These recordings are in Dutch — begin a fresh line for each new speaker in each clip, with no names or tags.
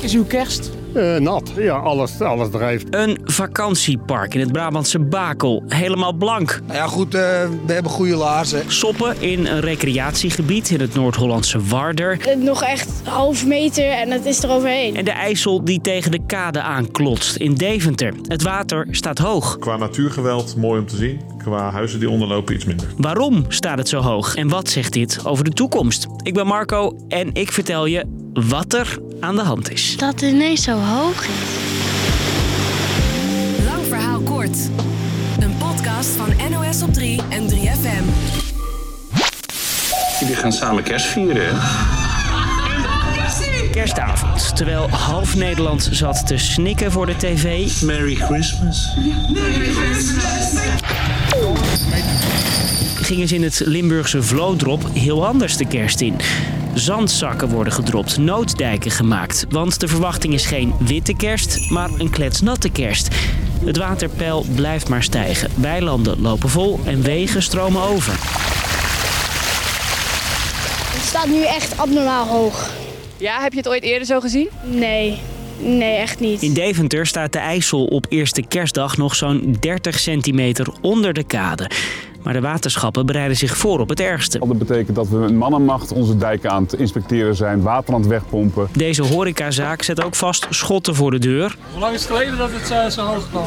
Is uw kerst?
Eh, nat. Ja, alles, alles drijft.
Een vakantiepark in het Brabantse Bakel. Helemaal blank.
Nou Ja, goed, eh, we hebben goede laarzen.
Soppen in een recreatiegebied in het Noord-Hollandse Warder.
Eh, Nog echt half meter en het is eroverheen.
En de IJssel die tegen de kade aanklotst in Deventer. Het water staat hoog.
Qua natuurgeweld mooi om te zien. Qua huizen die onderlopen iets minder.
Waarom staat het zo hoog? En wat zegt dit over de toekomst? Ik ben Marco en ik vertel je wat er aan de hand is.
Dat het ineens zo hoog is.
Lang verhaal kort. Een podcast van NOS op 3 en 3FM.
Jullie gaan samen kerst vieren, hè?
Kerstavond, terwijl half Nederland zat te snikken voor de tv,
Merry Christmas.
gingen ze in het Limburgse Vlodrop heel anders de kerst in. Zandzakken worden gedropt, nooddijken gemaakt. Want de verwachting is geen witte kerst, maar een kletsnatte kerst. Het waterpeil blijft maar stijgen. Weilanden lopen vol en wegen stromen over.
Het staat nu echt abnormaal hoog.
Ja, heb je het ooit eerder zo gezien?
Nee, nee, echt niet.
In Deventer staat de IJssel op eerste kerstdag nog zo'n 30 centimeter onder de kade. Maar de waterschappen bereiden zich voor op het ergste.
Dat betekent dat we met mannenmacht onze dijken aan het inspecteren zijn, water aan het wegpompen.
Deze horecazaak zet ook vast schotten voor de deur.
Hoe lang is het geleden dat het zo, zo hoog kwam?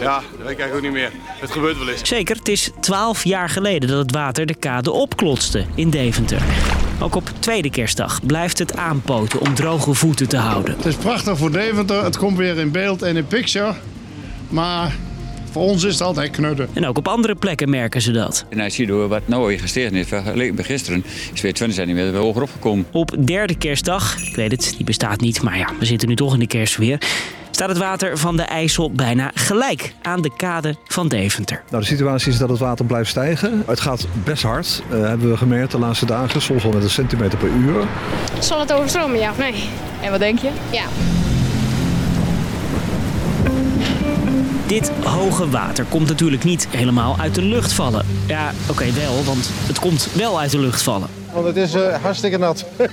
Ja, dat weet ik eigenlijk ook niet meer. Het gebeurt wel eens.
Zeker, het is 12 jaar geleden dat het water de kade opklotste in Deventer. Ook op tweede kerstdag blijft het aanpoten om droge voeten te houden.
Het is prachtig voor Deventer. Het komt weer in beeld en in picture. Maar voor ons is het altijd knudden.
En ook op andere plekken merken ze dat.
En als je door wat nou weer gestegen is, vergeleken met gisteren, is weer 20 centimeter weer hoger opgekomen.
Op derde kerstdag, ik weet het, die bestaat niet, maar ja, we zitten nu toch in de kerstweer. Staat het water van de IJssel bijna gelijk aan de kade van Deventer.
Nou, de situatie is dat het water blijft stijgen. Het gaat best hard, eh, hebben we gemerkt de laatste dagen, soms wel met een centimeter per uur.
Zal het overstromen, ja of nee?
En wat denk je?
Ja.
Dit hoge water komt natuurlijk niet helemaal uit de lucht vallen. Ja, oké, wel, want het komt wel uit de lucht vallen.
Want het is eh, hartstikke nat.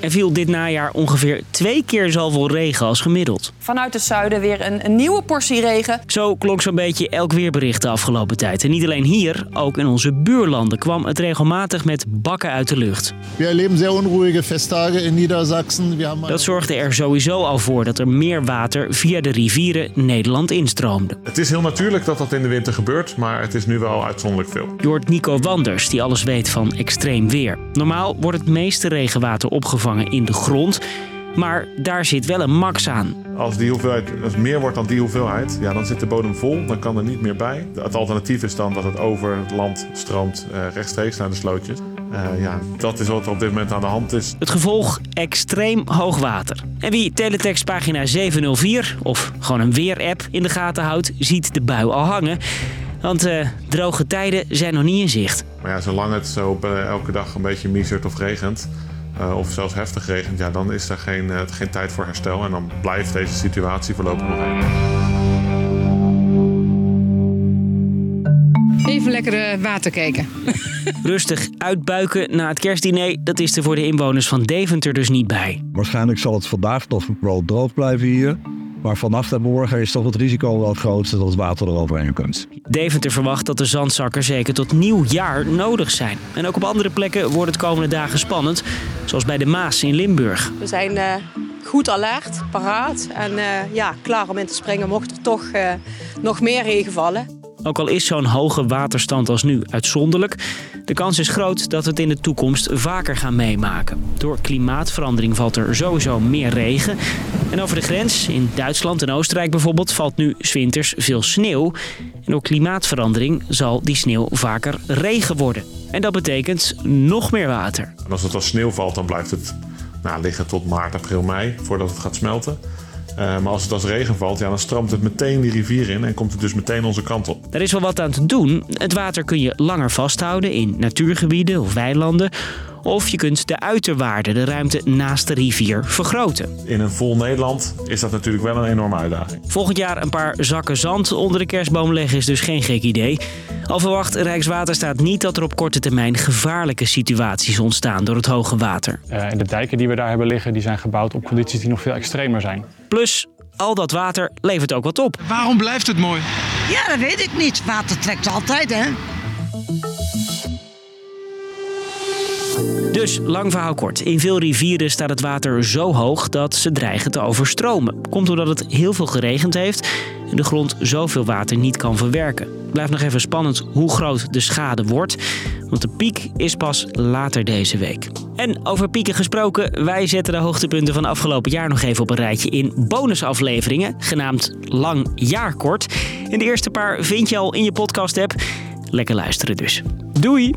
Er viel dit najaar ongeveer twee keer zoveel regen als gemiddeld.
Vanuit het zuiden weer een, een nieuwe portie regen.
Zo klonk zo'n beetje elk weerbericht de afgelopen tijd. En niet alleen hier, ook in onze buurlanden kwam het regelmatig met bakken uit de lucht.
We erleben zeer onruhige festdagen in Niedersachsen. We hebben
Dat zorgde er sowieso al voor dat er meer water via de rivieren Nederland instroomde.
Het is heel natuurlijk dat dat in de winter gebeurt, maar het is nu wel uitzonderlijk veel.
Je hoort Nico Wanders, die alles weet van extreem weer. Normaal wordt het meeste regenwater opgevangen in de grond, maar daar zit wel een max aan.
Als die hoeveelheid als meer wordt dan die hoeveelheid, ja, dan zit de bodem vol, dan kan er niet meer bij. Het alternatief is dan dat het over het land stroomt eh, rechtstreeks naar de slootjes. Eh, ja, dat is wat er op dit moment aan de hand is.
Het gevolg extreem hoog water. En wie teletext pagina 704 of gewoon een weerapp in de gaten houdt, ziet de bui al hangen. Want eh, droge tijden zijn nog niet in zicht.
Maar ja, zolang het zo op, eh, elke dag een beetje misert of regent, eh, of zelfs heftig regent, ja, dan is er geen, eh, geen tijd voor herstel. En dan blijft deze situatie voorlopig nog even.
Even lekker eh, water kijken.
Rustig uitbuiken na het kerstdiner, dat is er voor de inwoners van Deventer dus niet bij.
Waarschijnlijk zal het vandaag nog wel droog blijven hier. Maar vanaf en morgen is toch het risico wel het grootste dat het water eroverheen komt.
Deventer verwacht dat de zandzakken zeker tot nieuwjaar nodig zijn. En ook op andere plekken wordt het komende dagen spannend, zoals bij de Maas in Limburg.
We zijn eh, goed alert, paraat en eh, ja, klaar om in te springen mocht er toch eh, nog meer regen vallen.
Ook al is zo'n hoge waterstand als nu uitzonderlijk, de kans is groot dat we het in de toekomst vaker gaan meemaken. Door klimaatverandering valt er sowieso meer regen. En over de grens, in Duitsland en Oostenrijk bijvoorbeeld, valt nu 's winters veel sneeuw. En door klimaatverandering zal die sneeuw vaker regen worden. En dat betekent nog meer water.
En als het als sneeuw valt, dan blijft het nou, liggen tot maart, april, mei voordat het gaat smelten. Eh, maar als het als regen valt, ja, dan stroomt het meteen die rivier in en komt het dus meteen onze kant op.
Daar is wel wat aan te doen. Het water kun je langer vasthouden in natuurgebieden of weilanden. Of je kunt de uiterwaarden, de ruimte naast de rivier, vergroten.
In een vol Nederland is dat natuurlijk wel een enorme uitdaging.
Volgend jaar een paar zakken zand onder de kerstboom leggen is dus geen gek idee. Al verwacht Rijkswaterstaat niet dat er op korte termijn gevaarlijke situaties ontstaan door het hoge water.
Eh, en de dijken die we daar hebben liggen, die zijn gebouwd op condities die nog veel extremer zijn.
Plus, al dat water levert ook wat op.
Waarom blijft het mooi?
Ja, dat weet ik niet. Water trekt altijd, hè?
Dus, lang verhaal kort. In veel rivieren staat het water zo hoog dat ze dreigen te overstromen. Komt doordat het heel veel geregend heeft en de grond zoveel water niet kan verwerken. Blijft nog even spannend hoe groot de schade wordt, want de piek is pas later deze week. En over pieken gesproken, wij zetten de hoogtepunten van afgelopen jaar nog even op een rijtje in bonusafleveringen, genaamd Lang Jaar Kort. En de eerste paar vind je al in je podcast-app. Lekker luisteren dus. Doei!